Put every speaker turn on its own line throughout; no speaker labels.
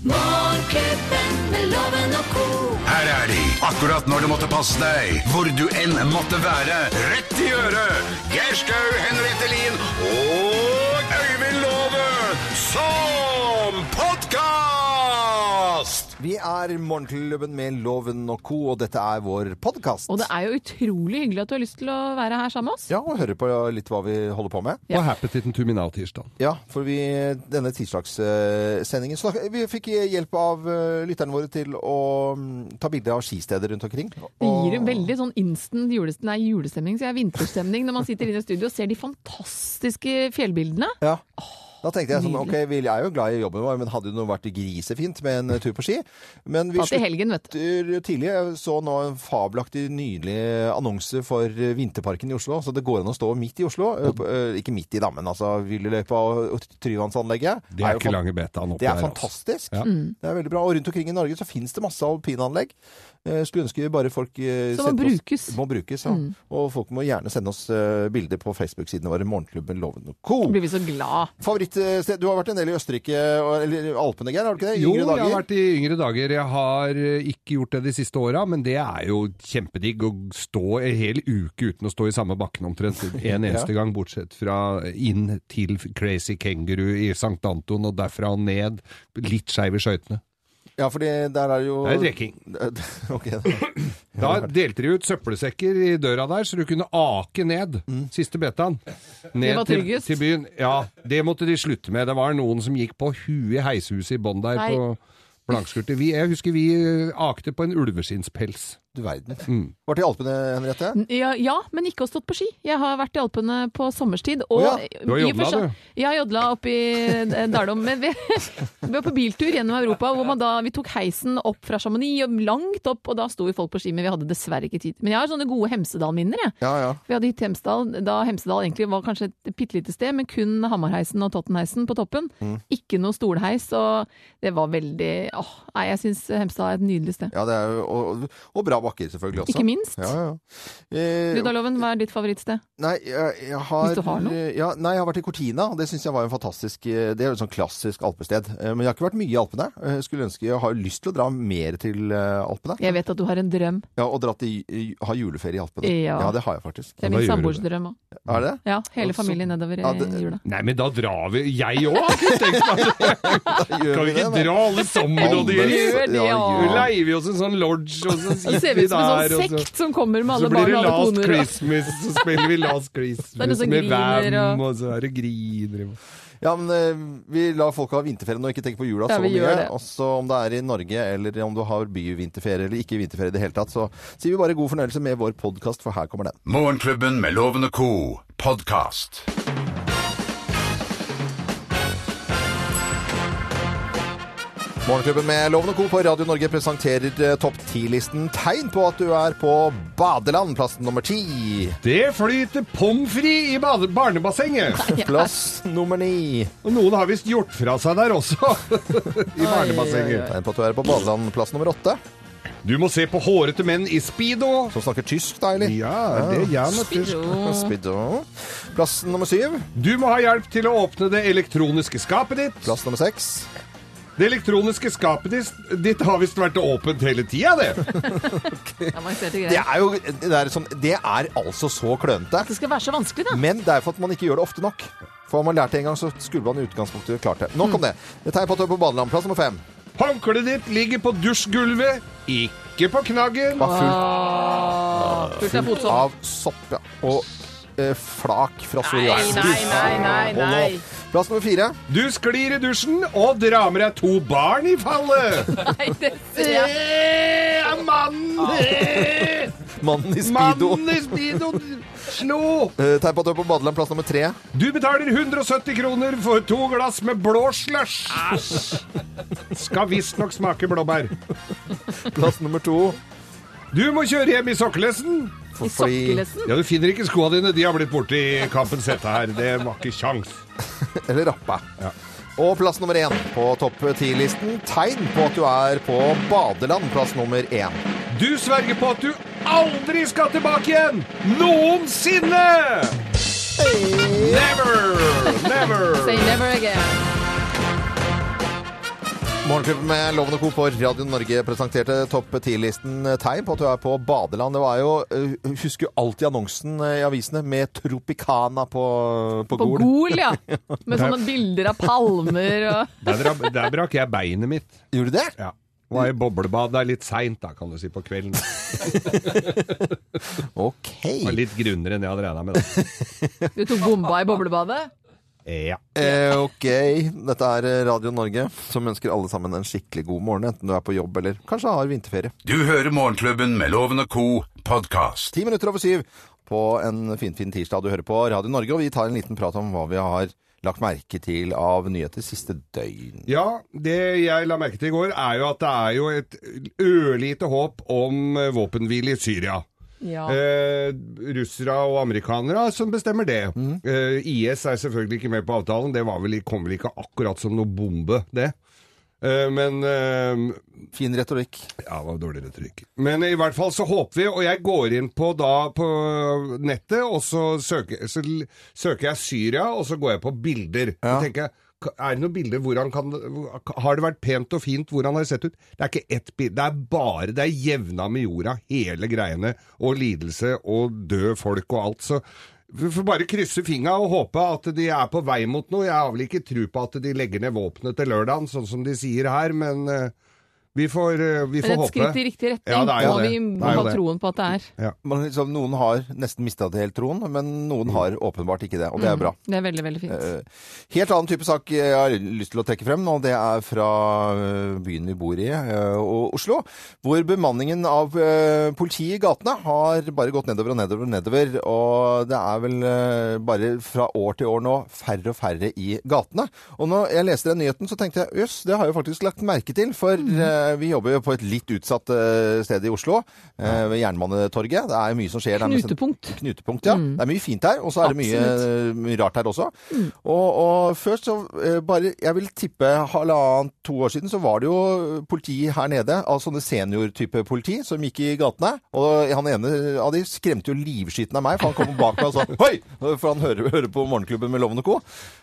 Morgenklubben med loven og ko.
Her er de, akkurat når du måtte passe deg, hvor du enn måtte være. Rett i øret! Geir Skau, Henriette Lien og Øyvind Låve som podkast!
Vi er Morgenklubben med Loven og co., og dette er vår podkast.
Og det er jo utrolig hyggelig at du har lyst til å være her sammen med oss.
Ja, og høre på litt hva vi holder på med.
Ja.
Og happy titten tuminal-tirsdag.
Ja, for vi, denne tirsdagssendingen så da- Vi fikk hjelp av eh, lytterne våre til å mm, ta bilde av skisteder rundt omkring.
Det gir en veldig sånn instant julestemning, nei, julestemning, så jeg vinterstemning når man sitter inne i studio og ser de fantastiske fjellbildene.
Ja. Da tenkte jeg sånn, ok,
nydelig.
vi er jo glad i jobben vår, men hadde det nå vært grisefint med en tur på ski? Men vi
Tatt i helgen, vet du.
slutter tidlig. Jeg så nå en fabelaktig nydelig annonse for eh, Vinterparken i Oslo, så det går an å stå midt i Oslo. eh, på- eh, Ikke midt i dammen, altså. Villeløypa og og Tryvannsanlegget.
Det er
jo
ikke
fan-
lange betaen oppe
Det er
der, altså.
fantastisk.
Ja.
Mm.
Det er veldig bra. Og rundt omkring i Norge så finnes det masse alpinanlegg. Eh, Skulle ønske bare folk eh,
Som må
sendte oss-
brukes. Mm.
Må brukes, ja. Og folk må gjerne sende oss eh, bilder på Facebook-sidene våre, Morgenklubben Loven og Co.
Blir vi så glad.
Favorittsted? Du har vært en del i Østerrike, og- eller Alpene, Geir? Har du ikke det? I
Jo,
yngre
jeg
dager?
har vært i yngre dager. Jeg har eh, ikke gjort det de siste åra, men det er jo kjempedigg å stå en hel uke uten å stå i samme bakken omtrent en eneste gang, bortsett fra inn til Crazy Kenguru i Sankt Anton, og derfra og ned. Litt skeiv i skøytene.
Ja, fordi der er jo
Det er drikking.
Ok, da.
Da delte de ut søppelsekker i døra der, så du kunne ake ned. Siste betaen. Ned
Det var
til,
tryggest.
til byen. Ja, det måtte de slutte med. Det var noen som gikk på huet i heishuset i bånn der
Nei.
på Blankskurte. Vi, jeg husker vi eh, akte på en ulveskinnspels.
Du verden.
Mm.
Vært i Alpene, Henriette?
Ja, ja, men ikke og stått på ski. Jeg har vært i Alpene på sommerstid. Og
Å ja,
du
i og
har
for
jodla,
seg-
du.
Jeg har jodla oppe i eh, Dalom. Men vi, vi var på biltur gjennom Europa, hvor man da, vi tok heisen opp fra Chamonix og langt opp, og da sto vi folk på ski, men vi hadde dessverre ikke tid. Men jeg har sånne gode Hemsedal-minner, jeg.
Ja, ja.
Vi hadde hit Hemsedal, da Hemsedal egentlig var kanskje et bitte lite sted, men kun Hammarheisen og Tottenheisen på toppen.
Mm.
Ikke noe stolheis, og det var veldig åh, Nei, jeg syns Hemsedal er et nydelig sted.
ja det er jo, og, og bra bakker, selvfølgelig også.
Ikke minst.
Ja, ja. Eh,
Du da, Loven, hva er ditt favorittsted?
nei, jeg, jeg har,
Hvis du har noe?
eh, Ja, nei, jeg har vært i Cortina. og Det syns jeg var en fantastisk eh, Det er jo et sånn klassisk alpested. Eh, Men jeg har ikke vært mye i Alpene. Jeg skulle ønske jeg har lyst til å dra mer til eh, Alpene.
Jeg vet at du har en drøm.
Ja, og dratt i, i- ha juleferie i Alpene.
Ja.
det har jeg faktisk.
Det er
Ja, da
min
gjør du
samboers drøm òg.
Er det det?
Ja, hele
Og så-
familien nedover eh, i
Ja, det-
jula.
Nei, men da drar vi Jeg òg har ikke tenkt meg det! Kan vi ikke dra alle sammen og
Alle
dyre?
gjør det, ja.
Så leier vi oss en sånn lodge, og så
Det ser vi
sitter vi
ut som en
der,
sånn
og så
sekt som kommer med
altså- så
alle
blir
barn
det
og alle
Last
koner. og-
Christmas, så spiller vi Last
Det er noen
Christmas
som
med
griner, og-
Vam, og så er det griner. og-
Ja, men eh, vi lar folk ha vinterferie nå, ikke tenke på jula
Ja,
så
vi gjør
mye.
det.
Også om det er i Norge, eller om du har byvinterferie, eller ikke vinterferie i det hele tatt, så sier vi bare god fornøyelse med vår podkast, for her kommer den.
Morgenklubben med Loven og Co. podkast.
Morgenklubben med Loven og Co. på Radio Norge presenterer eh, topp ti-listen tegn på at du er på badeland, plass nummer ti.
Det flyter pommes frites i bade- barnebassenget!
Plass nummer ni.
Og noen har visst gjort fra seg der også. I barnebassenget.
Tegn på at du er på badeland, plass nummer åtte.
Du må se på hårete menn i speedo.
Som snakker tysk, deilig.
Ja, det er jeg naturlig.
Jo.
Speedo. Plass nummer syv.
Du må ha hjelp til å åpne det elektroniske skapet ditt.
Plass nummer seks.
Det elektroniske skapet dis- ditt har visst vært åpent hele tida, det.
Avanserte
Det
greier.
er jo det er, sånn, det er altså så klønete.
Det skal være så vanskelig, da.
Men det er for at man ikke gjør det ofte nok. For om man lærte en gang, så skulle man i utgangspunktet klart det. Nok om det. Det tegn på at du er på badeland. Plass nummer fem.
Håndkleet ditt ligger på dusjgulvet, ikke på knaggen.
Var
Åh,
fullt
Fullt av fotsopp.
av sopp ja. og eh, flak fra psoriasis.
nei,
Og nå- Plass nummer fire.
Du sklir i dusjen og drar med deg to barn i fallet.
Nei, det ser jeg.
Det er mannen! Det-
Mannen i speedo.
Mannen i speedoen slo!
Eh, tegn på at du er på badeland. Plass nummer tre.
Du betaler 170 kroner for to glass med blå slush. Skal visstnok smake blåbær.
Plass nummer to.
Du må kjøre hjem i sokkelesten.
For-
I sokkelesten.
Ja, Du finner ikke skoa dine. De har blitt borte i kampens hette her. Det var ikke kjangs.
Eller rappa. Og plass nummer én på topp ti-listen. Tegn på at du er på badeland. Plass nummer én.
Du sverger på at du aldri skal tilbake igjen! Noensinne! Never! Never!
Say never again.
Morgenklubben med Loven og Co. på Radio Norge presenterte topp 10-listen tegn på at du er på badeland. Det var jo, eh, Husker jo alltid annonsen eh, i avisene med Tropicana på, på,
På
Gol.
Gol, ja. Med sånne bilder av palmer og
Der, dra- der brakk jeg beinet mitt.
Gjorde du det?
Ja. Var i boblebad der litt seint, da, kan du si, på kvelden. Det
Ok.
var litt grunnere enn jeg hadde regna med. Da.
Du tok bomba i boblebadet?
Ja.
Eh, ok. Dette er eh, Radio Norge, som ønsker alle sammen en skikkelig god morgen, enten du er på jobb eller kanskje har vinterferie.
Du hører Morgenklubben med Loven og co. podkast.
Ti minutter over syv på en finfin fin tirsdag. Du hører på Radio Norge, og vi tar en liten prat om hva vi har lagt merke til av nyheter siste døgn.
ja, det jeg la merke til i går, er jo at det er jo et ørlite håp om eh, våpenhvile i Syria.
Ja.
Eh, russere og amerikanere som bestemmer det. Eh, IS er selvfølgelig ikke med på avtalen. Det var vel, kom vel ikke akkurat som noe bombe, det. Eh, men eh,
Fin retorikk.
Ja, det var dårlig retorikk. Men i hvert fall så håper vi, og jeg går inn på da på nettet, og så søker, så l- søker jeg Syria, og så går jeg på bilder. Så tenker jeg, ka- er det noen bilder, hvordan kan, det- har det vært pent og fint, hvordan har det sett ut? Det er ikke ett bilde, det er bare, det er jevna med jorda, hele greiene, og lidelse, og døde folk og alt, så vi får bare krysse fingra og håpe at de er på vei mot noe. Jeg har vel ikke tro på at de legger ned våpenet til lørdagen, sånn som de sier her, men eh, vi får, eh, vi får
Men et
håpe.
skritt i riktig retning,
Ja, det er jo
og
det.
vi
Det
må
er jo
ha
det.
troen på at det er.
Man, liksom, noen har nesten mista det helt troen, men noen har åpenbart ikke det, og det er bra.
Det er veldig, veldig
Eh,
fint.
Helt annen type sak jeg har lyst til å trekke frem, og det er fra øh, byen vi bor i, øh, og Oslo, hvor bemanningen av øh, politiet i gatene har bare gått nedover og nedover og nedover, og det er vel øh, bare fra år til år nå færre og færre i gatene. Og når jeg leste den nyheten, så tenkte jeg, jøss, det har jeg jo faktisk lagt merke til, for øh, vi jobber jo på et litt utsatt øh, sted i Oslo, øh, ved Jernbanetorget. Det er mye som skjer. der med-
Knutepunkt.
Knutepunkt, ja. Det er mye fint her, og så er det mye, mye rart her også. Og, og først så eh, bare, jeg vil tippe halvannet, to år siden, så var det jo politi her nede, av sånne seniortype politi, som gikk i gatene. Og han ene av de skremte jo livskiten av meg, for han kom bak meg og sa hoi! For han hører, hører på Morgenklubben med Loven og Co.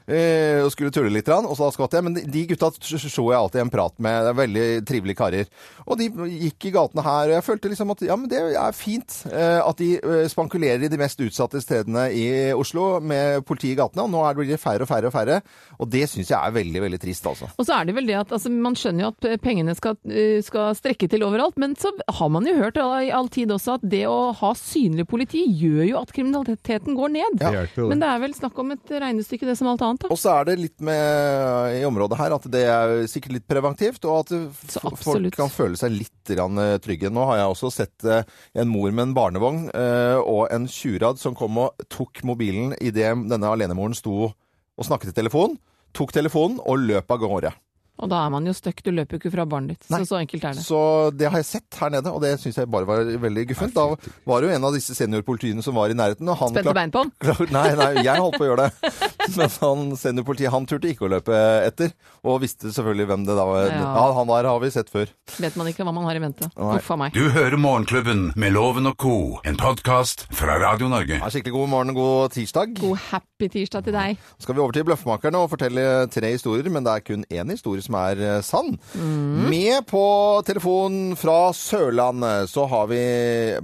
Eh, og skulle tulle litt, grann, og så da skvatt jeg. Men de gutta så jeg alltid en prat med. Det er veldig trivelige karer. Og de gikk i gatene her, og jeg følte liksom at ja, men det er fint eh, at de eh, spankulerer i de mest utsatte stedene i Oslo med politi i gatene, og nå er det- blir det færre og færre og færre. Og det syns jeg er veldig, veldig trist, altså.
Og så er det vel det at altså, man skjønner jo at pengene skal, eh, skal strekke til overalt, men så har man jo hørt da i all tid også at det å ha synlig politi gjør jo at kriminaliteten går ned.
Det hjelper jo det.
Men det er vel snakk om et regnestykke, det som alt annet. da.
Og så er det litt med eh, i området her at det er sikkert litt preventivt, og at f-
Så
folk
absolutt.
kan føle seg litt grann eh, trygge. Nå har jeg også sett eh, en mor med en barnevogn eh, og en tjurad som kom og tok mobilen idet denne alenemoren sto og snakket i telefonen. Tok telefonen og løp av gårde.
Og da er man jo støkk, du løper jo ikke fra barnet ditt.
Nei.
Så så enkelt er det.
Så det har jeg sett her nede, og det syns jeg bare var veldig guffent. Da var det jo en av disse seniorpolitiene som var i nærheten, og han
Spente bein på den.
Klar- Nei, nei, jeg holdt på å gjøre det. Men han seniorpolitiet, han turte ikke å løpe etter, og visste selvfølgelig hvem det da var. Ja,
Ja.
han der har vi sett før.
Vet man ikke hva man har i vente.
Nei.
Uff a meg.
Du hører Morgenklubben med Loven og co., en podkast fra Radio Norge.
Ja, skikkelig god morgen, god tirsdag.
God happy tirsdag til deg.
Så skal vi over til Bløffmakerne og fortelle tre historier, men det er kun én historie som er eh, sann. Med på telefonen fra Sørlandet så har vi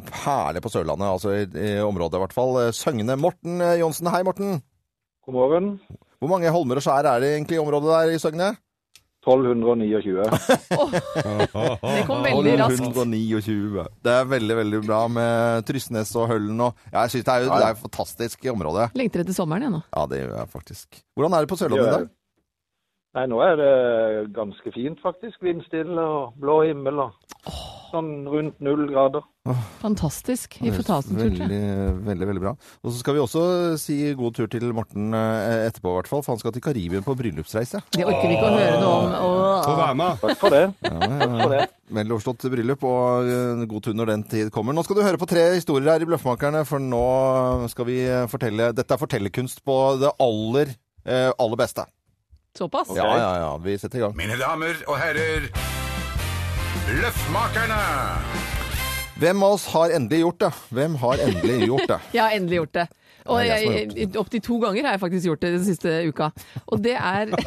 perle på Sørlandet, altså i, i området i hvert fall. eh, Søgne Morten eh, Johnsen. Hei, Morten.
God morgen.
Hvor mange holmer og skjær er det egentlig i området der i Søgne?
1229.
Det kom veldig raskt.
129. Det er veldig, veldig bra med Trysnes og Høllen og ja, Jeg syns det er jo det er et fantastisk område.
Lengter etter sommeren igjen nå.
Ja, det gjør jeg faktisk. Hvordan er det på Sørlandet i dag?
Nei, nå er det ganske fint faktisk. Vindstille og blå himmel og sånn rundt null grader.
Fantastisk. Vi får ta oss en tur til.
Veldig, veldig, veldig bra. Og så skal vi også si god tur til Morten eh, etterpå, i hvert fall, for han skal til Karibien på bryllupsreise.
Det orker vi ikke å høre noe om. Åh.
Få være med.
Takk for det. Takk for det.
Veloverstått bryllup, og eh, god tur når den tid kommer. Nå skal du høre på tre historier her i Bløffmakerne, for nå skal vi eh, fortelle Dette er fortellerkunst på det aller, eh, aller beste.
Såpass?
Ja, ja, ja. Vi setter i gang.
Mine damer og herrer, Løffmakerne!
Hvem av oss har endelig gjort det? Hvem har endelig gjort det?
Jeg har endelig gjort det. Og
Det er jeg som har
jeg, opptil to ganger har jeg faktisk gjort det den siste uka. Og det er Det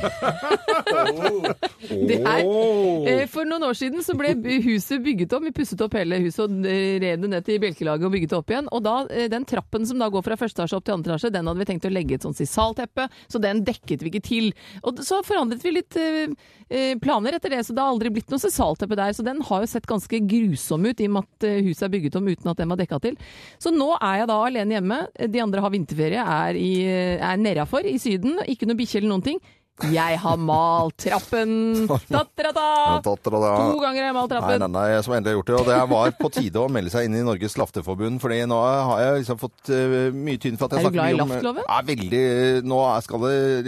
er,
Åh.
eh, for noen år siden så ble b- huset bygget om. Vi pusset opp hele huset og eh, rev det ned til bjelkelaget og bygget det opp igjen. Og da, eh, den trappen som da går fra første etasje opp til andre etasje, den hadde vi tenkt å legge et sånt sisalteppe, så den dekket vi ikke til. Og d- så forandret vi litt eh, eh, planer etter det, så det har aldri blitt noe sisalteppe der. Så den har jo sett ganske grusom ut i og med at eh, huset er bygget om uten at den var dekka til. Så nå er jeg da alene hjemme. De andre har vinterferie, er, i, eh, er nedafor i Syden. Ikke noe bikkje eller noen ting. Jeg har malt trappen!
Ja,
Ta-ta-ta!
tatt, og da-
To ganger har jeg malt
Nei, nei,
trappen.
nei, jeg som endelig har gjort det. Og det var på tide å melde seg inn i Norges Lafteforbund, fordi nå har jeg liksom fått eh, mye tynn for at
Er
jeg
du
snakker
glad i
mye om eh,
laftloven?
Ja, veldig. Nå er- skal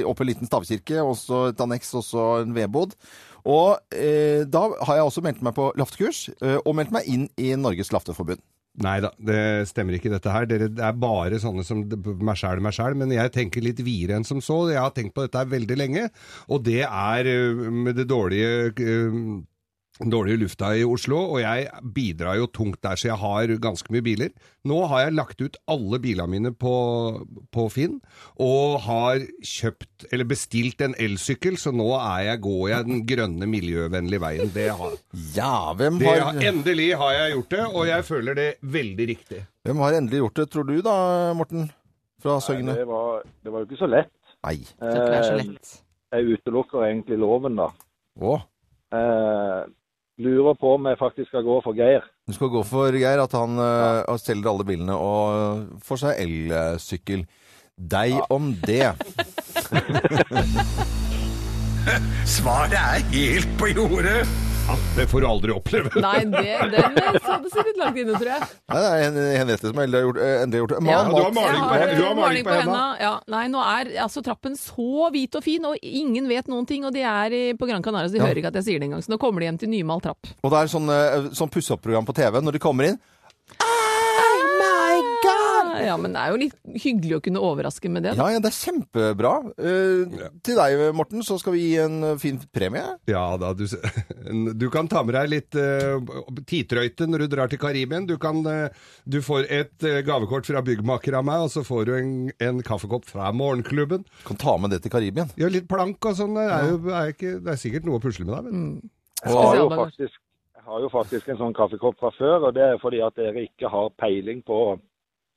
det opp en liten stavkirke, og så et anneks, og så en vedbod. Og eh, da har jeg også meldt meg på laftekurs, eh, og meldt meg inn i Norges Lafteforbund.
Nei da, det stemmer ikke dette her. Dere er bare sånne som meg sjæl, meg sjæl. Men jeg tenker litt videre enn som så. Jeg har tenkt på dette her veldig lenge, og det er øh, med det dårlige øh, dårlige lufta i Oslo, og jeg bidrar jo tungt der, så jeg har ganske mye biler. Nå har jeg lagt ut alle bilene mine på, på Finn, og har kjøpt, eller bestilt en elsykkel, så nå er jeg, går jeg den grønne, miljøvennlige veien. Det har,
Ja, hvem
det har,
har,
endelig har jeg gjort det, og jeg føler det veldig riktig.
hvem har endelig gjort det, tror du da, Morten? Fra Søgne?
Det var, det var jo ikke så lett.
Nei.
Skal ikke være så
Eh,
lett.
Jeg utelukker egentlig loven, da.
Å,
Eh, lurer på om jeg faktisk skal gå for Geir.
du skal gå for Geir, at han eh, selger alle bilene og får seg elsykkel. Deg om det.
Svaret er helt på jordet.
Det får du aldri oppleve.
Nei, det, den hadde sittet langt inne, tror jeg.
Nei, det er Hen- Henriette som endelig har gjort, eh, endelig har gjort det.
Ja.
Mal,
Du har
mal.
maling
Jeg
på
har,
henda. Du har
eh,
maling på henda.
Ja, nei, nå er altså, trappen så hvit og fin, og ingen vet noen ting. Og de er i, på Gran Canaria, så de hører ikke at jeg sier det engang. Så nå kommer de hjem til nymalt trapp.
Og det er sånn, eh, sånn pusse-opp-program på TV når de kommer inn. Oh my god!
Ah, Ja, men det er jo litt hyggelig å kunne overraske med det. Da.
Ja, ja, det er kjempebra. Eh, Til deg, Morten, så skal vi gi en eh, fin premie.
Ja da, du, du kan ta med deg litt uh, titrøyte når du drar til Karibien. Du, kan, eh, du får et eh, gavekort fra byggmaker av meg, og så får du en, en kaffekopp fra morgenklubben.
Du kan ta med det til Karibien.
Ja, litt plank og sånn. Det er, jo, er ikke, det er sikkert noe å pusle med
Mm.
der. vet du.
Jeg har jo
Spesialdager.
faktisk, jeg har jo faktisk en sånn kaffekopp fra før, og det er fordi at dere ikke har peiling på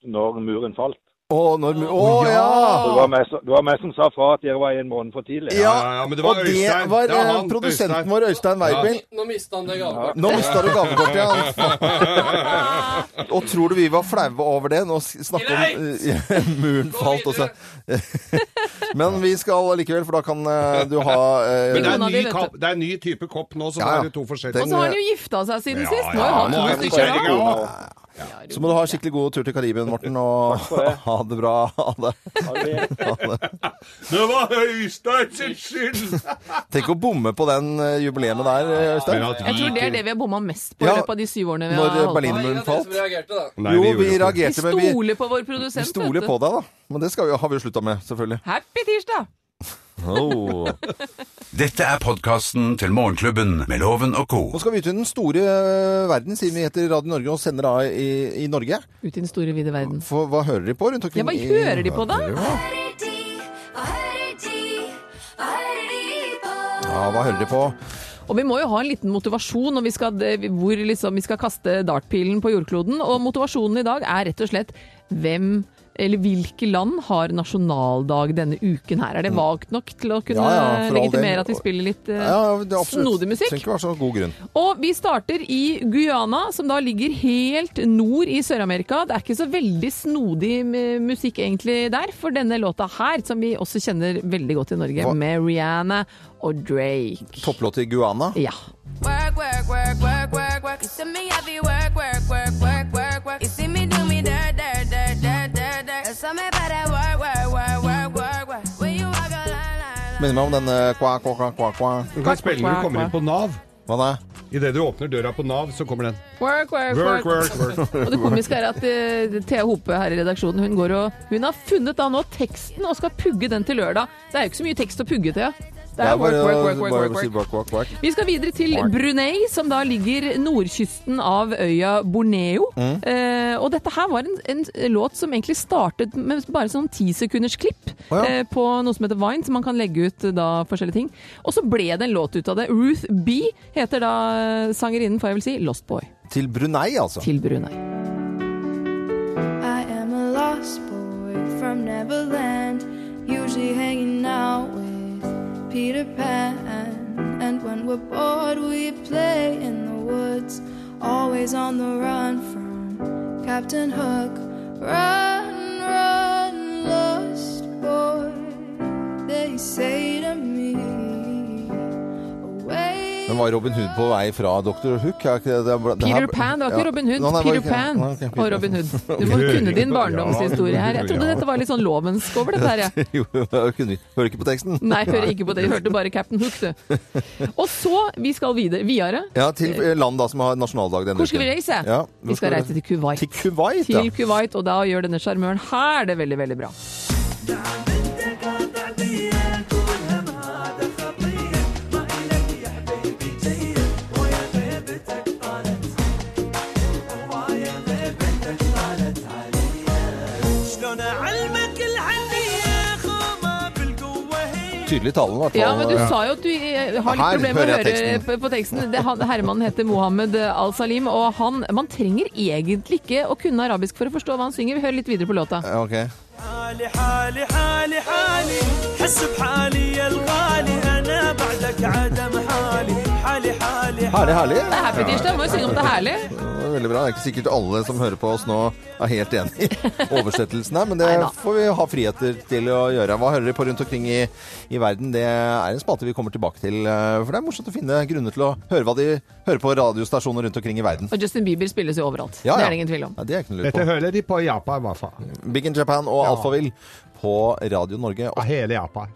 når muren falt.
Å, når, å ja!
Det var meg som- det var meg som sa fra at dere var en måned for tidlig.
ja, ja, men det var
og det
Øystein.
var
Det var
eh,
han,
produsenten
Øystein.
vår, Øystein Weibel.
Nå mista han det gavekortet.
Nå mista du gavekortet, ja. Og tror du vi var flaue over det? Nå s- snakker om eh, muren falt og så Men vi skal likevel, for da kan eh, du ha eh,
Men det er,
Kona di,
en ny
vet
kopp, det er en ny type kopp nå,
Ja,
så
ja.
da er det to
Og
forskjellige.
så har han jo
eh,
gifta seg siden sist. Nå har
ja,
han
nå er
to
det
stykker
kjerringa.
av.
Så må du ha en skikkelig god tur til Karibien, Morten, og
for det.
ha det bra. Ha det.
Det var Øystein sin skyld!
Tenk å bomme på den eh, jubileet der, eh, Øystein.
Jeg tror det er det vi har bomma mest på i
Ja,
løpet av de syv årene vi har
Når eh,
holdt på.
Det var
Berlinmuren
ingen av dere
falt.
som reagerte, da.
Nei,
Jo,
vi gjorde
vi
ikke det.
Vi
reagerte, men vi
stoler på vår
vi
produsent,
stoler på deg, da. Men det skal vi, har vi jo slutta med, selvfølgelig.
Happy tirsdag!
Oh.
Dette er podkasten til Morgenklubben med Loven og co.
Nå skal vi ut i den store eh, verden, siden vi heter Radio Norge og sender av i, i Norge.
Ut i den store, vide verden.
For hva hører de på rundt
Ja,
omkring?
hva
i-
hører de på, da?
Hører de, hva hører de, hva hører de på?
Ja, hva hører de på?
Og vi må jo ha en liten motivasjon når vi skal, hvor liksom vi skal kaste dartpilen på jordkloden. Og motivasjonen i dag er rett og slett hvem eller hvilke land har nasjonaldag denne uken her? Er det vagt nok til å kunne
Mm. Ja, ja, for all del.
legitimere at vi spiller litt eh,
det er absolutt-
snodig musikk?
Trenger ikke være så god grunn.
Og vi starter i Guyana, som da ligger helt nord i Sør-Amerika. Det er ikke så veldig snodig eh, musikk egentlig der, for denne låta her, som vi også kjenner veldig godt i Norge,
Hva?
med Rihanna og Drake.
Topplåt i Guana.
Ja.
Work, work, work, work, work, work. You see me heavy work, work, work, work, work, work. You see me do me dirt, dirt, dirt, dirt, dirt, dirt. And some about that work, work, work, work, work, work. When you walk a line, line, line.
Minner meg om den eh, kva, kva, kva, kva, kva.
Du kan spille når du kommer inn på Nav.
Hva da?
Idet du åpner døra på Nav, så kommer den.
Work, work,
Work, work, work.
Og det komiske er at eh, Thea Hope her i redaksjonen, hun, går og, hun har funnet da nå teksten og skal pugge den til lørdag. Det er jo ikke så mye tekst å pugge, Thea. Det er work, work, work, work,
bare
work,
å si
work.
work, work, work.
Vi skal videre til Brunei, som da ligger nordkysten av øya Borneo.
Mm.
Eh, og dette her var en, en låt som egentlig startet med bare sånn ti sekunders klipp
Å ja.
eh, på noe som heter Vine, som man kan legge ut eh, da forskjellige ting. Og så ble det en låt ut av det. Ruth B heter da eh, sangerinnen, får jeg vel si, Lost Boy
Til Brunei, altså.
til Brunei.
I am a lost boy from Neverland, usually hanging out with Peter Pan. And when we're bored, we play in the woods, always on the run from Captain Hook. Run, run, lost boy, they say to me. Away.
Men var Robin Hood på vei fra Dr. Hook? Er ikke det, det, er- det her-
Peter Pan, det var ikke
Ja.
Robin Hood.
Nå, nei, var
Peter
ikke-
Pan
Nei, ok,
og
Peter
Robin
Pan.
Hood. Du må kunne din
Ja.
barndomshistorie her. Jeg trodde
Ja.
dette var litt sånn lovensk over dette her, jeg.
jo, jeg kunne, hører ikke på teksten.
Nei, hører ikke på det. Jeg hørte bare Captain Hook, du. Og så, vi skal videre. Videre.
Ja, til eh, land da som har nasjonaldag denne
Hvor skal vi reise?
Ja, hvor
vi skal reise til Kuwait.
Til Kuwait, ja.
Til Kuwait, og da gjør denne sjarmøren her det veldig, veldig bra.
شلون اعلمك الحنيه خوما بالقوه هي
Tydelig talen, i hvert fall.
Ja, men du sa jo at du eh, har litt
Her
problemer med å
hører
høre
jeg teksten.
på, på teksten. Det, han, herremannen heter Mohammed Al-Salim, og han Man trenger egentlig ikke å kunne arabisk for å forstå hva han synger. Vi hører litt videre på låta.
Ja, ok.
حالي حالي حالي حالي حس بحالي يا الغالي انا بعدك عدم حالي حالي حالي
Herlig, herlig.
Det er happy tirsdag, må jo synge om det er herlig.
Det var veldig bra. Det er ikke sikkert alle som hører på oss nå er helt enig i oversettelsen her, men det
Neida.
får vi ha friheter til å gjøre. Hva hører dere på rundt omkring i, i verden? Det er en spalte vi kommer tilbake til, eh, for det er morsomt å finne grunner til å høre hva de hører på radiostasjoner rundt omkring i verden.
Og Justin Bieber spilles jo overalt.
Ja,
Det
ja.
er det ingen tvil om.
Ja, det er ikke noe lurt
Dette
på.
hører de på i Japan, i hvert fall.
Big in Japan og Alphaville på Radio Norge.
Av hele Japan.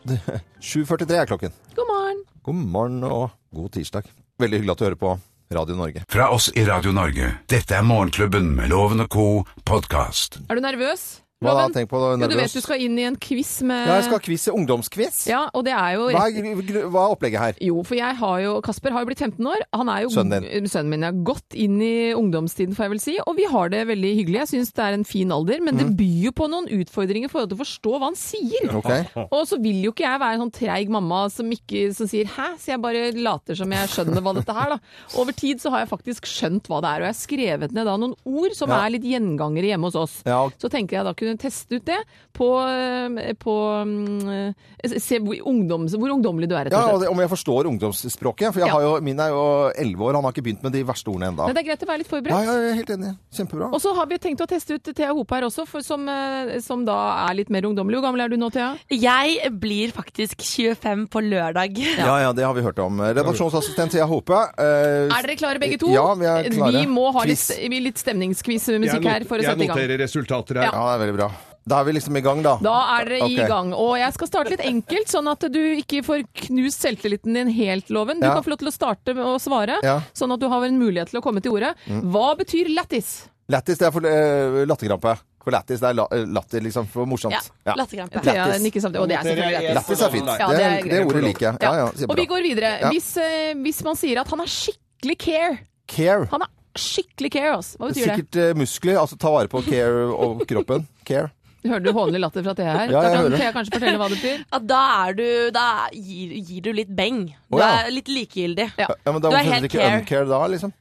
7.43 er klokken.
God morgen.
God morgen og god tirsdag. Veldig hyggelig at du hører på Radio Norge.
Fra oss i Radio Norge, dette er Morgenklubben med Loven og co. podkast.
Er du nervøs?
Hva da?
Loven?
Tenk på det,
Jo, du
nervøs.
vet du skal inn i en quiz med
Ja, jeg skal ha quiz, ungdomsquiz.
Eh. Ja, og det er jo
Hva, er, gru- gru- hva er opplegget her?
Jo, for jeg har jo Kasper har jo blitt 15 år. Han er jo
Sønnen din.
sønnen min. er Godt inn i ungdomstiden, får jeg vel si. Og vi har det veldig hyggelig. Jeg syns det er en fin alder, men det byr jo på noen utfordringer for å forstå hva han sier.
Mm. Ok.
Og så vil jo ikke jeg være en sånn treig mamma som, ikke, som sier 'hæ', så jeg bare later som jeg skjønner hva dette her, da. Over tid så har jeg faktisk skjønt hva det er, og jeg har skrevet ned da noen ord som
Ja.
er litt gjengangere hjemme hos oss.
Ja.
Så tenker jeg da kunne teste ut det på, eh, på mm, eh, Se hvor, ungdom, hvor ungdommelig du er, rett
Ja,
og slett.
og det, Om jeg forstår ungdomsspråket? For jeg
Ja.
har jo, min er jo 11 år, han har ikke begynt med de verste ordene ennå.
Nei, det er greit å være litt
Ja,
forberedt.
ja, jeg er helt enig. Kjempebra.
Og så har vi tenkt å teste ut Thea Hope her også, for som, eh, som da er litt mer ungdommelig. Hvor gammel er du nå, Thea?
Jeg blir faktisk 25 på lørdag.
Ja, ja, det har vi hørt om. Redaksjonsassistent Thea Hope. eh,
Er dere klare begge to?
Ja, vi er klare.
Vi må ha litt,
Quiz.
litt stemningsquiz-musikk her for å
jeg
sette i gang.
noterer resultater her.
Ja, det er veldig bra. Da er vi liksom i gang, da.
Da er dere
Ok.
i gang. Og jeg skal starte litt enkelt, sånn at du ikke får knust selvtilliten din helt, Loven. Du
Ja.
kan få lov til å starte med å svare,
Ja. Mm.
sånn at du har en mulighet til å komme til ordet. Hva betyr lættis?
Lættis, det er for uh, latterkrampe. For lættis, det er la, latter, liksom. For morsomt.
Ja,
Ja.
Latterkrampe.
Thea nikker samtidig. Og det er selvfølgelig lættis.
Lættis er fint.
Ja,
det,
det er
er, det
greit.
ordet liker jeg. Ja, ja,
Og vi
kjempebra.
går videre.
Ja.
Hvis, eh, hvis man sier at han er skikkelig care
Care.
Han er skikkelig care, ass. Hva betyr
Sikkert eh, muskler. Altså ta vare på care og kroppen. Care.
det? Hører du hånlig latter fra Thea her?
Ja, jeg
Da kan
hører.
Thea kanskje fortelle hva det betyr?
At da er du Da gir, gir du litt beng. Du
Å, ja.
er litt likegyldig.
Ja.
Ja, men da
Du er
hvorfor
helt
heter det ikke
care.
uncare da, liksom?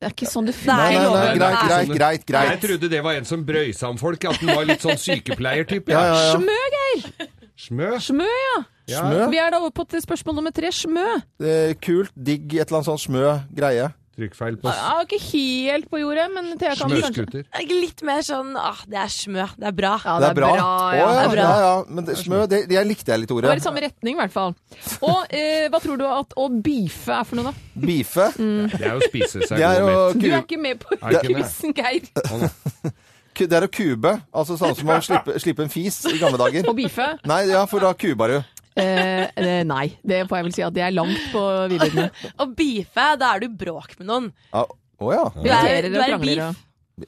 Det er ikke sånn det
Nei,
Nei, nei, nei, greit,
loven. Nei.
greit, greit.
Jeg
greit.
trodde det var en som brøysa om folk, at den var litt sånn sykepleiertype.
Ja, ja, ja.
Smø, Geir!
Smø.
Smø, ja.
Smø.
Vi er da over på til spørsmål nummer tre. Smø.
Eh, Kult, digg, et eller annet sånn smø greie.
Trykkfeil på
Ja, sånn, ikke helt på jordet, men Thea kan kanskje
smøskuter.
Jeg er Litt mer sånn ah, det er smø. Det er bra.
Ja,
Det er bra.
ja.
Å,
Det
ja,
er bra.
ja, ja. Men det, smø, det, det likte jeg litt
Det var i
ordet.
samme retning, i hvert fall. Og eh, hva tror du at å beefe er for noe, da?
Beefe.
Det er jo å spise seg
Det er å,
god
sånn-
med.
Mm. Du er
ku,
ikke med på
Er ikke det.
quizen, Geir.
ku- det er å kube. Altså sånn som å slippe, slippe en fis i gamle dager.
Å beefe?
Nei, ja, for da kuber du.
Eh, eh, nei. Det får jeg vel si at det er langt på videregående.
Å beefe, da er du i bråk med noen.
Ja, Å ja.
Du er,
Irriterer og
du er i
krangler,
beef.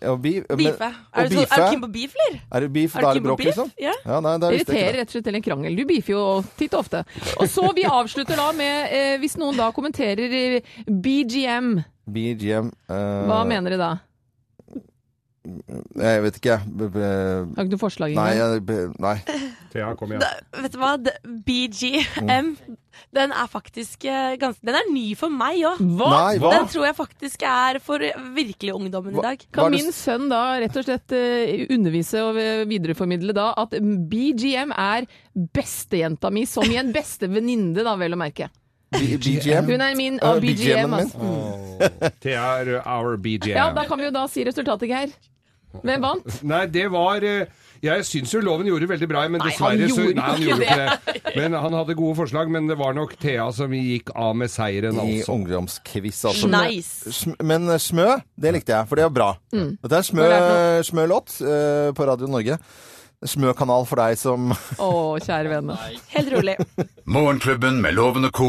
Ja, bi- men-
Beefe.
og
Er du, så-
beefe.
er du keen på beef, eller?
Er det beef,
Er
da
du
er det
keen på
bråk,
beef?
liksom?
Ja.
Ja, nei, da visste jeg
Irriterer
ikke det.
rett og slett til en krangel. Du beefer jo titt og ofte. Og så vi avslutter da med eh, Hvis noen da kommenterer i BGM,
BGM eh,
hva mener de da?
Jeg vet ikke. B b
Har ikke du forslag
nei,
engang?
jeg, b nei.
Thea, kom igjen.
Da, vet du hva? Det- BGM. Den er faktisk eh, ganske Den er ny for meg òg.
Hva?
Nei, hva?
Den tror jeg faktisk er for virkelig ungdommen i dag.
Hva er
Kan
det
min
s-
sønn da rett og slett eh, undervise og eh, videreformidle da at BGM er bestejenta mi, som i en bestevenninne, da, vel å merke.
B- BGM?
Hun er min
Ja,
og BGM,
BGM-en min.
altså.
Thea er uh, our BGM.
Ja, da kan vi jo da si resultatet, Geir. Hvem vant?
Nei, det var eh, Jeg syns jo Loven gjorde veldig bra, men
Nei, han
dessverre så
gjorde
Nei, han
ikke
gjorde ikke det. Men han hadde gode forslag, men det var nok Thea som gikk av med seieren,
I
altså.
ungdomsquiz, altså.
Nice.
Sm- Men eh, Smø, det likte jeg, for det er bra. Dette er en smø,
Hva Mm. er
smø låt eh, på Radio Norge. Smø-kanal for deg som
Å, kjære vene.
Helt rolig.
Morgenklubben med Loven og co.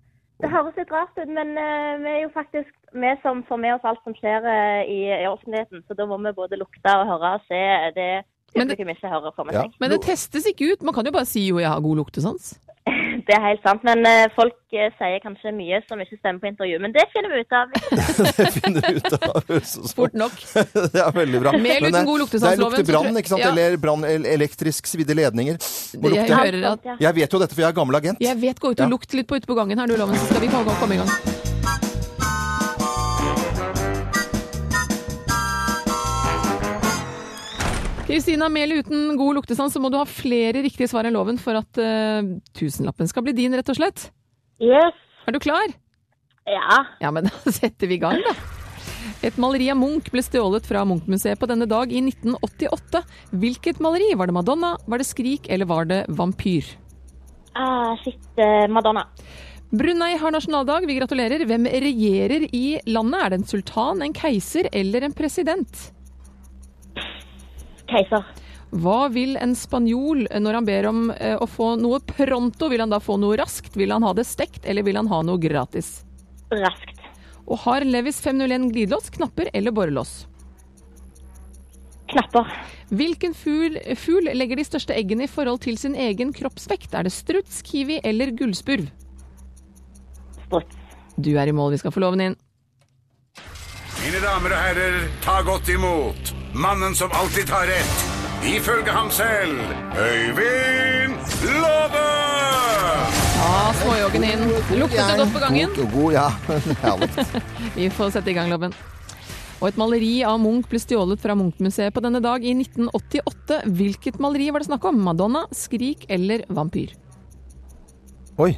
Det høres litt rart ut, men eh, vi er jo faktisk vi som får med oss alt som skjer eh, i, i offentligheten. Så da må vi både lukte og høre og se det
Men det-
publikum ikke hører for
Ja.
seg.
Men det testes ikke ut. Man kan jo bare si jo, jeg har god luktesans.
Det er helt sant, men eh, folk eh, sier kanskje mye som ikke stemmer på intervju. Men det finner vi ut av.
Det finner du ut av. høres ut som-
Fort nok.
Det er veldig bra.
Med eller
Men eh, det-
uten god luktesansloven, så
Det lukter brann,
tror jeg-
ikke sant?
Ja.
Eller brann, el- elektrisk svidde ledninger. Må
Jeg
lukte.
hører at
Ja.
Jeg vet jo dette, for jeg er gammel agent.
Jeg vet, gå ut og
Ja.
lukt litt på ute på gangen her, du Loven, så skal vi komme, komme i gang. Kristina, med eller uten god luktesans, så må du ha flere riktige svar enn loven for at eh, tusenlappen skal bli din, rett og slett.
Yes.
Er du klar?
Ja.
Ja, men da setter vi i gang, da. Et maleri av Munch ble stjålet fra Munch-museet på denne dag i 1988. Hvilket maleri? Var det Madonna, var det Skrik, eller var det Vampyr?
Ah, shit, eh, Madonna.
Brunei har nasjonaldag, vi gratulerer. Hvem regjerer i landet? Er det en sultan, en keiser eller en president?
Keiser.
Hva vil en spanjol når han ber om eh, å få noe pronto? Vil han da få noe raskt? Vil han ha det stekt, eller vil han ha noe gratis?
Raskt.
Og har Levis 501 glidelås, knapper eller borrelås?
Knapper.
Hvilken fugl, fugl legger de største eggene i forhold til sin egen kroppsvekt? Er det struts, kiwi eller gullspurv?
Struts.
Du er i mål, vi skal få loven inn.
Mine damer og herrer, ta godt imot mannen som alltid tar rett, ifølge ham selv, Øyvind Låve!
Ja, småjoggen inn. Luktet det godt på gangen?
God, god ja. Herlig.
Vi får sette i gang, Loven. Og et maleri av Munch ble stjålet fra Munch-museet på denne dag i 1988. Hvilket maleri var det snakk om? Madonna, Skrik eller Vampyr?
Oi.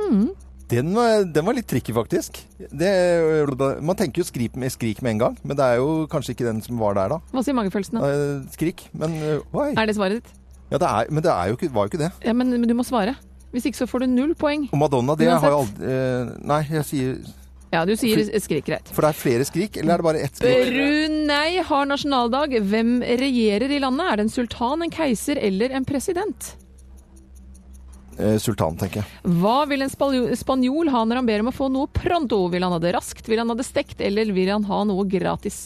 Mm.
Den var, den var litt tricky, faktisk. Det, man tenker jo skrik med, skrik med en gang, men det er jo kanskje ikke den som var der da.
Hva sier magefølelsen? da?
Eh, Skrik, men eh, oi.
Er det svaret ditt?
Ja, det er, men det er jo ikke, var jo ikke det.
Ja, men, men du må svare. Hvis ikke så får du null poeng.
Og Madonna, det har jo
Uansett.
aldri eh, Nei, jeg sier
Ja, du sier Skrik rett.
For det er flere skrik, eller er det bare ett skrik?
Brunei har nasjonaldag. Hvem regjerer i landet? Er det en sultan, en keiser eller en president?
Eh, Sultan, tenker jeg.
Hva vil en spanjo- spanjol ha når han ber om å få noe pronto? Vil han ha det raskt, vil han ha det stekt, eller vil han ha noe gratis?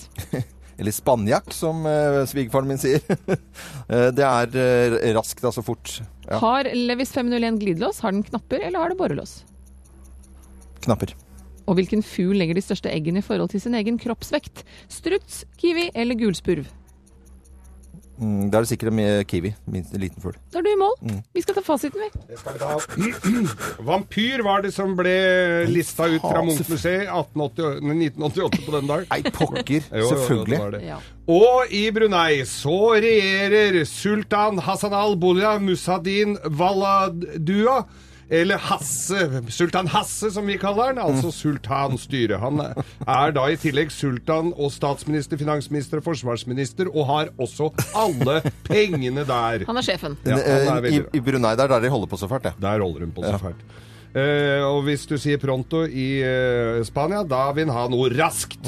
Eller spanjakk, som eh, svigerfaren min sier. Eh, det er eh, raskt, altså fort. Ja,
Har Levis 501 glidelås? Har den knapper, eller har det borrelås?
knapper.
Og hvilken fugl legger de største eggene i forhold til sin egen kroppsvekt? Struts, kiwi eller gulspurv?
Mm, da er det sikkert med kiwi. Min, liten fugl.
Da er du i mål.
Mm.
Vi skal ta fasiten, vi.
Vampyr var det som ble lista ut fra Munch-museet i 1888 1988 på den dag.
Nei, pokker!
Jo, jo, jo,
Selvfølgelig.
det var det.
Ja.
Og i Brunei så regjerer sultan Hassan al-Bollah Musadin Waladua eller Hasse, sultan Hasse som vi kaller han, altså sultanstyret. Han er da i tillegg sultan og statsminister, finansminister og forsvarsminister, og har også alle pengene der.
Han er sjefen.
Ja, han er
eh, I,
veldig bra.
I Brunei, der, der de holder på så fælt, ja.
Der holder hun på så fælt. Eh, og hvis du sier pronto i eh, Spania, da vil han ha noe raskt.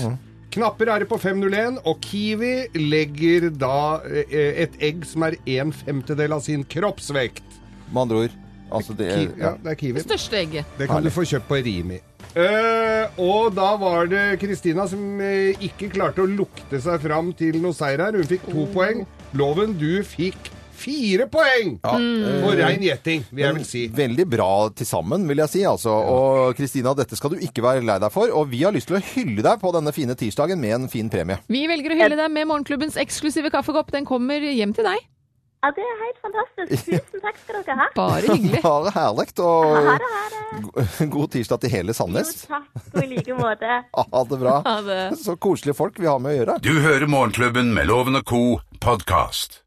Knapper er det på 501, og Kiwi legger da eh, et egg som er en femtedel av sin kroppsvekt.
Med andre ord. Altså det
Kiwi, ja, det er Kiwi.
Største egget.
Det kan du få kjøpt på Rimi. Eh, og da var det Kristina som eh, ikke klarte å lukte seg fram til noe seier her. Hun fikk to poeng. Loven, du fikk fire poeng! På rein gjetting, vil jeg vel si.
Veldig bra til sammen, vil jeg si. Altså. Og Kristina, dette skal du ikke være lei deg for. Og vi har lyst til å hylle deg på denne fine tirsdagen med en fin premie.
Vi velger å hylle deg med morgenklubbens eksklusive kaffekopp. Den kommer hjem til deg.
Ja, det er helt fantastisk. Tusen takk skal dere ha.
Bare hyggelig.
Bare herlig.
Ha
Og
det, ha det.
go- god tirsdag til hele Sandnes.
Jo, takk, og i like måte.
Ha det bra.
Ha det.
Så koselige folk vi har med å gjøre.
Du hører Morgenklubben med Loven og co. podkast.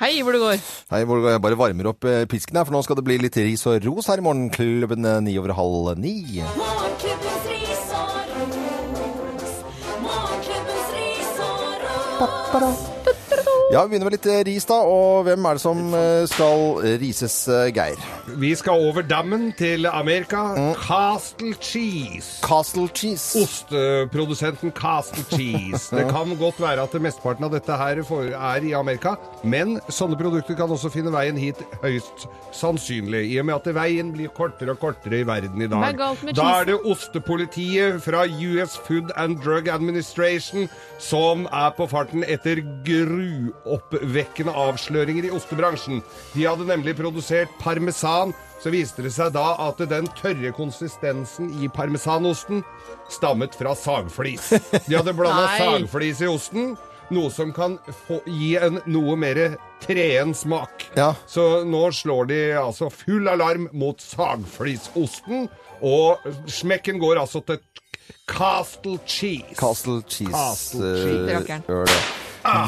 Hei, hvor det går.
Hei, hvor jeg bare varmer opp eh, pisken her, for nå skal det bli litt ris og ros her i morgenklubben eh, ni over halv ni.
Morgenklubbens ris og ros. Morgenklubbens ris og ros.
Ja, vi begynner med litt eh, ris, da. Og hvem er det som eh, skal rises, eh, Geir?
Vi skal over dammen til Amerika. Castle Cheese.
Castle Cheese.
Osteprodusenten Castle Cheese. Det kan godt være at mesteparten av dette her for- er i Amerika, men sånne produkter kan også finne veien hit høyst sannsynlig, i og med at veien blir kortere og kortere i verden i
Hva er
dag.
galt med
Da er
cheese?
det ostepolitiet fra US Food and Drug Administration som er på farten etter gruoppvekkende avsløringer i ostebransjen. De hadde nemlig produsert parmesan. Så viste det seg da at den tørre konsistensen i parmesanosten stammet fra sagflis. De hadde blanda
Nei.
sagflis i osten, noe som kan få, gi en noe mer treen smak.
Ja.
Så nå slår de altså full alarm mot sagflisosten, og smekken går altså til Castle Cheese.
Castle Cheese.
Castle
eh,
Cheese.
Rakkeren.
gjør det.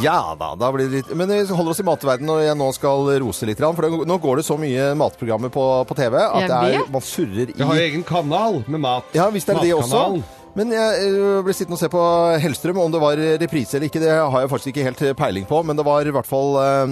Ja da, da blir det litt Men vi holder oss i matverden når jeg nå skal rose litt. grann, For det, nå går det så mye matprogrammer på, på TV at
Jeg
det er,
vet.
man surrer
Jeg har
i
egen kanal med mat.
Ja visst er det det også.
Matkanalen.
Men jeg eh, ble sittende og se på Hellstrøm, om det var reprise eller ikke. Det har jeg faktisk ikke helt eh, peiling på, men det var i hvert fall eh,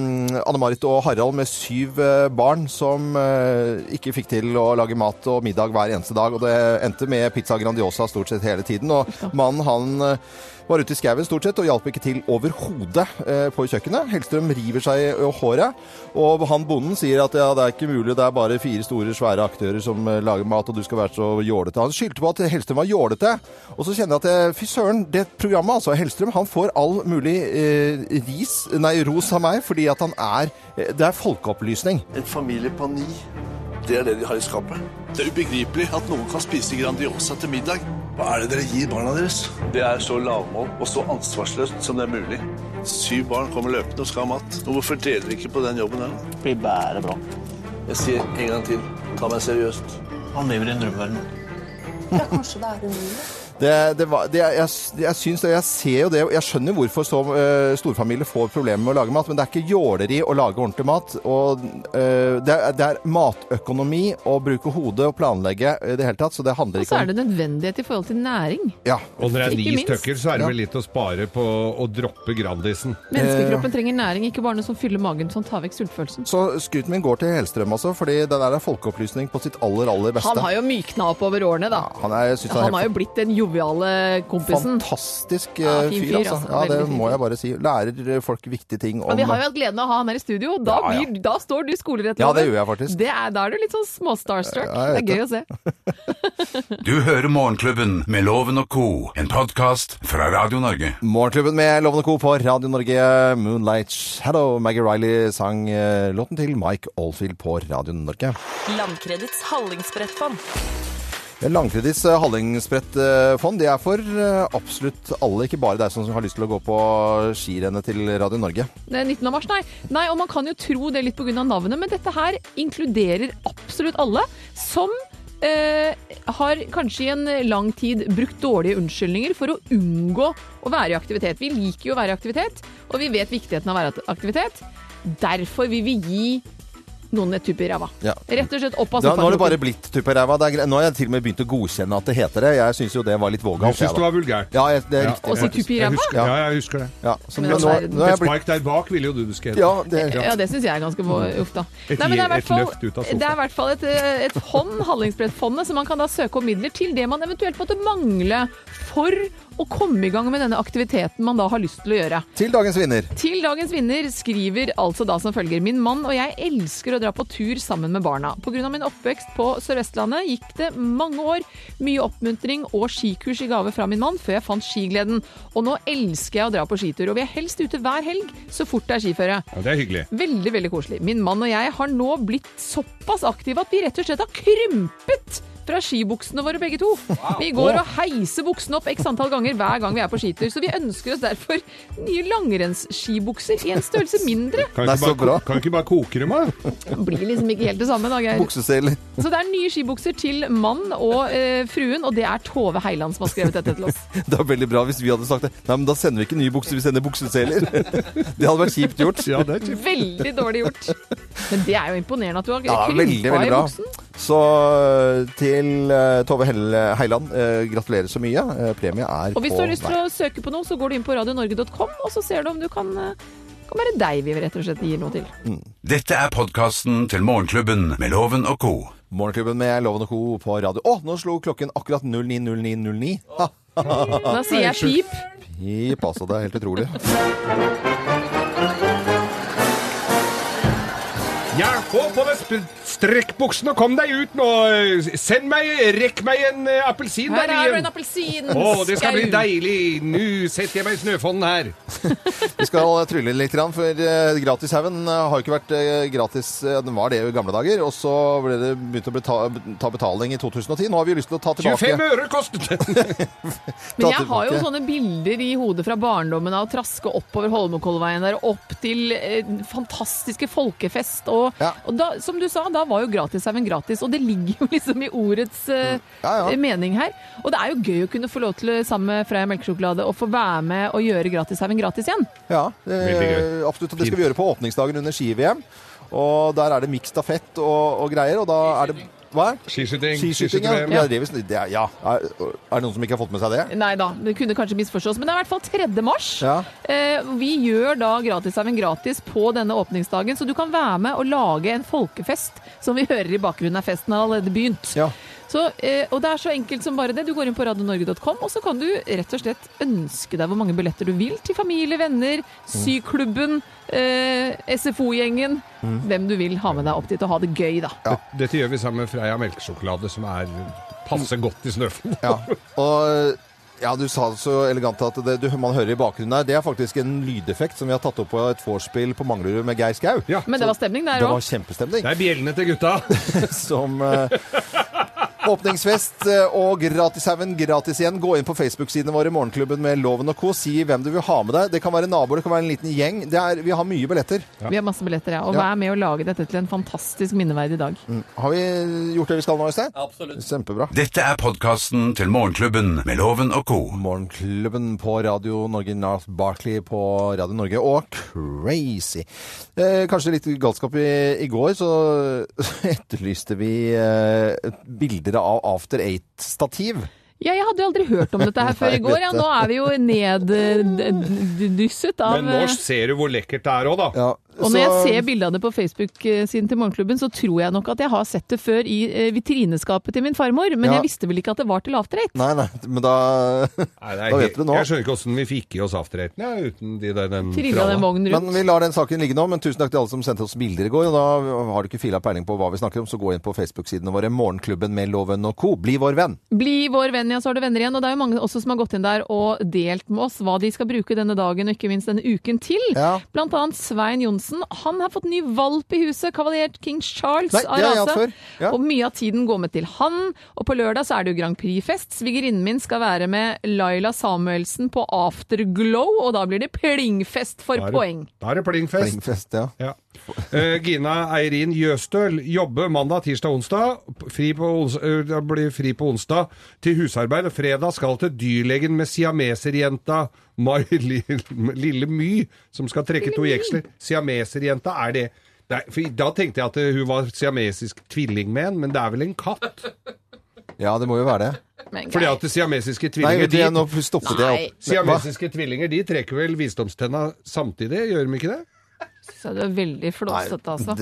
Anne-Marit og Harald med syv eh, barn som eh, ikke fikk til å lage mat og middag hver eneste dag. Og det endte med pizza Grandiosa stort sett hele tiden. Og mannen, han eh, var ute i skauen stort sett og hjalp ikke til overhodet eh, på kjøkkenet. Hellstrøm river seg i håret, og han bonden sier at ja, det er ikke mulig, det er bare fire store, svære aktører som eh, lager mat, og du skal være så jålete. Han skyldte på at Hellstrøm var jålete, og så kjenner jeg at eh, fy søren, det programmet, altså Hellstrøm, han får all mulig eh, ris, nei, ros av meg, fordi at han er eh, Det er folkeopplysning.
En familie på ni. Det er det de har i skapet. Det er ubegripelig at noen kan spise Grandiosa til middag. Hva er det dere gir barna deres? Det er så lavmål og så ansvarsløst som det er mulig. Syv barn kommer løpende og skal ha mat. Og hvorfor deler vi ikke på den jobben her? Det blir bare bra. Jeg sier en gang til, ta meg seriøst. Han lever i en drømmeverden.
Det, det var, det, jeg, jeg syns det, jeg ser jo det, og jeg skjønner hvorfor så, eh, storfamilier får problemer med å lage mat, men det er ikke jåleri å lage ordentlig mat. Og, eh, det, er, det er matøkonomi å bruke hodet og planlegge eh, i det hele tatt, så det handler
Og så
ikke
er det nødvendighet i forhold til næring.
Ja.
Og når det er
Ikke
ni
minst.
stykker, så er det vel litt å spare på å droppe Grandisen.
Eh.
Menneskekroppen trenger næring, ikke bare noe som fyller magen som tar vekk sultfølelsen.
Så skryten min går til Hellstrøm, altså, fordi det der er folkeopplysning på sitt aller, aller beste.
Han har jo mykna opp over årene, da.
Han er, jeg synes
Han
han er
har
helt
jo blitt den joviale kompisen.
fantastisk eh,
Ja, fin
fyr,
fyr,
altså.
altså.
Ja,
Veldig
det
fin
må
fyr.
jeg bare si. Lærer eh, folk viktige ting om
Og vi har jo hatt gleden av å ha han her i studio. Da,
Ja, ja.
blir, da står du skolerett
Ja, det gjør jeg faktisk.
Det er, da er du litt sånn småstarstruck.
Ja, jeg
det er gøy
vet
å se.
Du hører Morgenklubben med Loven og co., en podkast fra Radio Norge.
Morgenklubben med Lovende Co på Radio Norge, Moonlight Shadow. Maggie Riley sang eh, låten til Mike Oldfield på Radio Norge.
Landkredits hallingsbrettfond.
Langkredits eh, hallingsbrettfond, det er for eh, absolutt alle, ikke bare deg som har lyst til å gå på skirennet til Radio Norge.
Det er 19. av mars, nei. nei. Og man kan jo tro det litt pga. navnet, men dette her inkluderer absolutt alle som eh, har kanskje i en lang tid brukt dårlige unnskyldninger for å unngå å være i aktivitet. Vi liker jo å være i aktivitet, og vi vet viktigheten av å være i aktivitet. Derfor vil vi gi noen et tupp i ræva.
Ja.
Rett og slett opp av
Da, nå har det bare
sofaen.
blitt tupp i ræva. Det er gre- Nå har jeg til og med begynt å godkjenne at det heter det. Jeg syns jo det var litt vågalt.
Du synes
jeg,
det
da.
var vulgært?
Ja, jeg, det er
Ja.
riktig.
Å si
faktisk.
tupp i ræva?
Jeg husker, ja, jeg husker det.
Ja, så
Men nå- all verden. nå er jeg
Et spark der bak ville jo du det skulle hete.
Ja, det-
Ja, det syns jeg er ganske vå- uff, da.
Mm.
Nei, men det
Et
er i hvert
je- et
fall-
løft ut av sofaen.
Det er i hvert fall et, eh, et fond, Hallingsbrettfondet, som man kan da søke om midler til det man eventuelt måtte mangle for å komme i gang med denne aktiviteten man da har lyst til å gjøre.
Til dagens vinner.
Til dagens vinner skriver altså da som følger Min mann og jeg elsker å dra på tur sammen med barna. Pga. min oppvekst på Sør-Vestlandet gikk det mange år, mye oppmuntring og skikurs i gave fra min mann før jeg fant skigleden. Og nå elsker jeg å dra på skitur, og vi er helst ute hver helg så fort det er skiføre.
Ja, det er hyggelig.
Veldig, veldig koselig. Min mann og jeg har nå blitt såpass aktive at vi rett og slett har krympet fra skibuksene våre begge to. Vi går og heiser buksene opp x antall ganger hver gang vi er på skitur, så vi ønsker oss derfor nye langrennsskibukser i en størrelse mindre.
Kan du ikke, bare ko- kan du ikke bare koke dem, da?
Blir liksom ikke helt det samme, da, Geir.
Bukseseler.
Så det er nye skibukser til mann og eh, fruen, og det er Tove Heiland som har skrevet dette til oss.
Det er veldig bra hvis vi hadde sagt det. Nei, men da sender vi ikke nye bukser, vi sender bukseseler. Det hadde vært kjipt gjort.
Ja, det
Veldig dårlig gjort. Men det er jo imponerende at du har
Ja,
krympa
veldig, veldig
i
bra.
buksen.
Så til eh, Tove Helle- Heiland, eh, gratulerer så mye. Eh, Premie er
Og hvis du
på
har lyst til å søke på noe, så går du inn på radionorge.com, og så ser du om du kan eh, kan være deg vi rett og slett gir noe til.
Dette er podkasten til Morgenklubben med Loven og co.
Morgenklubben med Loven og Co. på radio. Å, nå slo klokken akkurat 09.09.09.
Da sier jeg pip.
Pip, altså. Det er helt utrolig.
Jeg får på meg sp- strekkbuksene og kom deg ut nå! Send meg, rekk meg en eh, appelsin
Her er
der
du
igjen!
en appelsin.
Å, det skal bli
Skau.
deilig! Nå setter jeg meg i snøfonnen her.
Vi skal trylle litt, grann, for eh, gratishaugen eh, har jo ikke vært eh, gratis. eh, Den var det jo i gamle dager, og så ble det begynt å beta ta betaling i 2010. Nå har vi jo lyst til å ta tilbake
25 øre kostet det!
Men
ta
jeg har jo
tilbake.
sånne bilder i hodet fra barndommen av å traske oppover Holmenkollveien der, opp til eh, fantastiske folkefest. Og, og da, som du sa, da var jo gratishaugen gratis, og det ligger jo liksom i ordets eh,
ja.
mening her. Og det er jo gøy å kunne få lov til, eh, sammen med Freia melkesjokolade, å få være med og gjøre gratishaugen gratis igjen.
Ja, det,
Veldig gøy.
absolutt. Og det skal vi gjøre på åpningsdagen under ski-VM. Og der er det mikt stafett og, og greier, og da er det Hva?
Skiskyting.
Skiskyting, ja.
Skiskyting,
ja.
ja.
det er visst- det er- ja. Er, er det noen som ikke har fått med seg det?
Nei da, det kunne kanskje misforstås, men det er i hvert fall 3. mars.
Ja.
Eh, Vi gjør da gratishaven gratis på denne åpningsdagen, så du kan være med og lage en folkefest. Som vi hører i bakgrunnen er festen har allerede begynt. Så, eh, og det er så enkelt som bare det. Du går inn på radionorge.com, og så kan du rett og slett ønske deg hvor mange billetter du vil til familie, venner,
Mm.
syklubben, eh, SFO-gjengen.
Mm.
Hvem du vil ha med deg opp dit og ha det gøy, da.
Dette gjør vi sammen med Freia melkesjokolade, som er passer godt i snøfonnen.
Og ja, du sa det så elegant at det, du, man hører i bakgrunnen her. Det er faktisk en lydeffekt som vi har tatt opp på et vorspiel på Manglerud med Geir Skau.
Men det var stemning der
Det var
òg.
kjempestemning.
Det er bjellene til gutta.
som eh, Åpningsfest eh, og gratishaugen gratis igjen. Gå inn på Facebook-sidene våre, Morgenklubben med Loven og co. Si hvem du vil ha med deg. Det kan være naboer, det kan være en liten gjeng. Det er, vi har mye billetter.
Vi har masse billetter, ja. Og
Ja.
vær med å lage dette til en fantastisk minneverdig dag.
Mm. Har vi gjort det vi skal nå, Øystein? Absolutt. Kjempebra.
Dette er podkasten til Morgenklubben med Loven og co.
Morgenklubben på Radio Norge, North Barkley på Radio Norge, og crazy. Eh, kanskje litt galskap i, i går, så etterlyste vi eh, bilder av After Eight-stativ.
Ja, jeg hadde jo aldri hørt om dette her før i
Nei,
går. Ja.
dette-
Nå er vi jo eh, neddysset av eh,
Men nå ser du hvor lekkert det er òg, da.
Og når jeg ser bildene på Facebook-siden til Morgenklubben, så tror jeg nok at jeg har sett det før i eh, vitrineskapet til min farmor, men
Ja.
jeg visste vel ikke at det var til after eight.
Nei, nei, men da, da vet du det nå.
Jeg skjønner ikke åssen vi fikk i oss afterhaten ja, uten de der, den
Trilla den vognen rundt.
Men vi lar den saken ligge nå, men tusen takk til alle som sendte oss bilder i går. Og da har du ikke fila peiling på hva vi snakker om, så gå inn på Facebook-sidene våre. Morgenklubben med Loven og co. Bli vår venn.
Bli vår venn, ja, så har du venner igjen. Og det er jo mange også som har gått inn der og delt med oss hva de skal bruke denne dagen og ikke minst denne uken til. Blant annet Svein Johnsen. Han har fått ny valp i huset, kavalert King Charles
Nei, det har jeg
av
hatt
rase.
før. Ja.
Og mye av tiden går med til han. Og på lørdag så er det jo Grand Prix-fest. Svigerinnen min skal være med Laila Samuelsen på Afterglow, og da blir det plingfest for
Da er det-
poeng.
Da er det plingfest.
Plingfest, ja.
Eh, Gina Eirin Jøstøl jobber mandag, tirsdag, onsdag. Fri på ons eh, da blir fri på onsdag til husarbeid. og Fredag skal til dyrlegen med siameserjenta Mai Li- Lille My, som skal trekke to jeksler. Siameserjenta er det Nei, for da tenkte jeg at eh, hun var siamesisk tvilling med en, men det er vel en katt?
Ja, det må jo være det.
Fordi at de siamesiske
Nei,
tvillinger
det er nå stoppet jeg opp. Nei.
Siamesiske tvillinger de trekker vel visdomstenna samtidig, gjør de ikke det?
Så det er veldig flåsete, altså.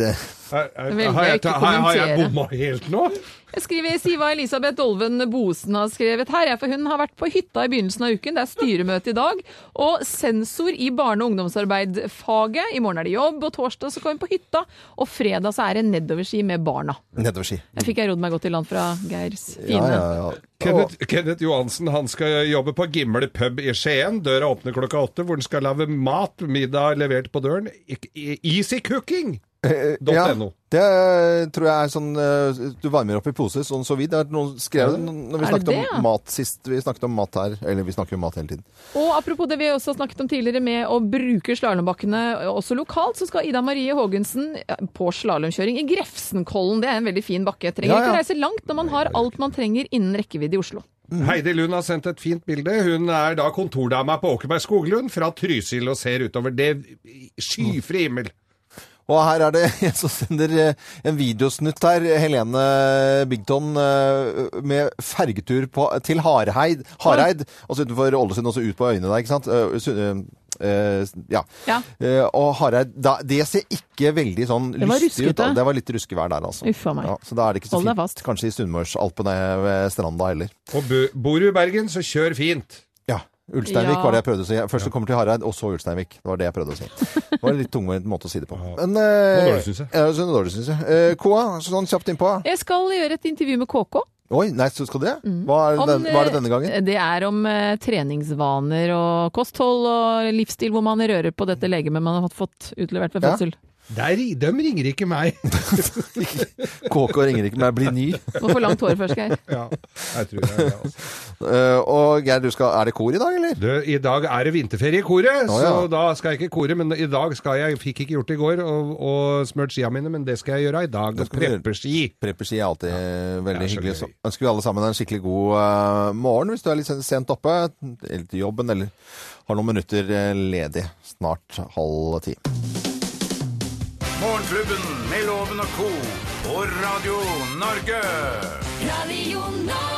Har, har,
velger
har,
jeg
jeg,
ikke å
har, jeg- har jeg
kommentere.
bomma helt nå?
Jeg skriver Siva Elisabeth Dolven Bosen har skrevet her, jeg, for hun har vært på hytta i begynnelsen av uken. Det er styremøte i dag. Og sensor i barne- og ungdomsarbeidfaget. I morgen er det jobb, og torsdag så kommer hun på hytta. Og fredag så er det nedoverski med barna.
Nedoverski.
Jeg fikk jeg rodd meg godt i land fra Geirs fine.
Ja, ja, ja.
Kenneth, Kenneth Johansen han skal jobbe på Gimle pub i Skien. Døra åpner klokka åtte, hvor han skal lage mat, middag levert på døren. Ik- i- Easycooking!
eh, Ja,
.no.
det tror jeg er sånn eh, Du varmer opp i pose, sånn så vidt. Det er noen skrev det når vi
Er det
snakket om
det, ja?
mat sist. Vi snakket om mat her. Eller vi snakker jo om mat hele tiden.
Og apropos det vi også har snakket om tidligere med å bruke slalåmbakkene også lokalt, så skal Ida Marie Haagensen på slalåmkjøring i Grefsenkollen. Det er en veldig fin bakke. Trenger
Ja, ja.
ikke reise langt når man har alt man trenger innen rekkevidde i Oslo.
Heidi Lund har sendt et fint bilde. Hun er da kontordama på Åkerberg Skoglund fra Trysil og ser utover det skyfri himmel.
Og her er det en som sender eh, en videosnutt her. Helene Bigton eh, med fergetur på, til Hareid, Hareid altså utenfor Ålesund, og så ut på øyene der, ikke sant? Eh, Sund- eh, eh, ja.
Ja.
Eh, og Hareid da, Det ser ikke veldig sånn
Det var
lystig ut. da.
ruskete.
Det var litt ruskevær der, altså.
Uffa meg.
Ja, så da er det ikke så
Hold deg
fint kanskje i Sunnmørsalpene ved Stranda heller.
Og bo- bor du i Bergen, så kjør fint.
Ja. Ulsteinvik
Ja.
var det jeg prøvde å si. Jeg- Først så kommer til Hareid, og så Ulsteinvik. Det var det jeg prøvde å si. Det var en litt tungvint måte å si det på. Men eh,
Noe dårlig, synes jeg.
ja, så noe dårlig, synes jeg. Eh, Koa, sånn kjapt innpå.
Jeg skal gjøre et intervju med KK.
Oi, nei, så skal det? Hva er,
Om,
den, hva er Mm. det denne
eh,
gangen?
Det er om eh, treningsvaner og kosthold og livsstil, hvor man rører på dette legemet man har fått utlevert ved
Ja.
fødsel.
Der, de ringer ikke meg.
KK ringer ikke meg, blir ny.
Må få langt hår først, Geir.
Ja, jeg tror det. Altså.
Eh, og Geir, du skal, er det kor i dag, eller?
Du, I dag er det vinterferie i koret,
Å, ja.
så da skal jeg ikke i koret. Men i dag skal jeg Fikk ikke gjort det i går og, og smurt skia mine, men det skal jeg gjøre i
skal
dag.
du gjøre.
Prepperski.
Prepperski er alltid veldig
det er så
hyggelig. Så ønsker vi alle sammen en skikkelig god eh, morgen hvis du er litt sen- sent oppe, eller til jobben, eller har noen minutter eh, ledig. Snart halv ti.
Morgenklubben med Loven og co. på Radio Norge.
Radio Norge.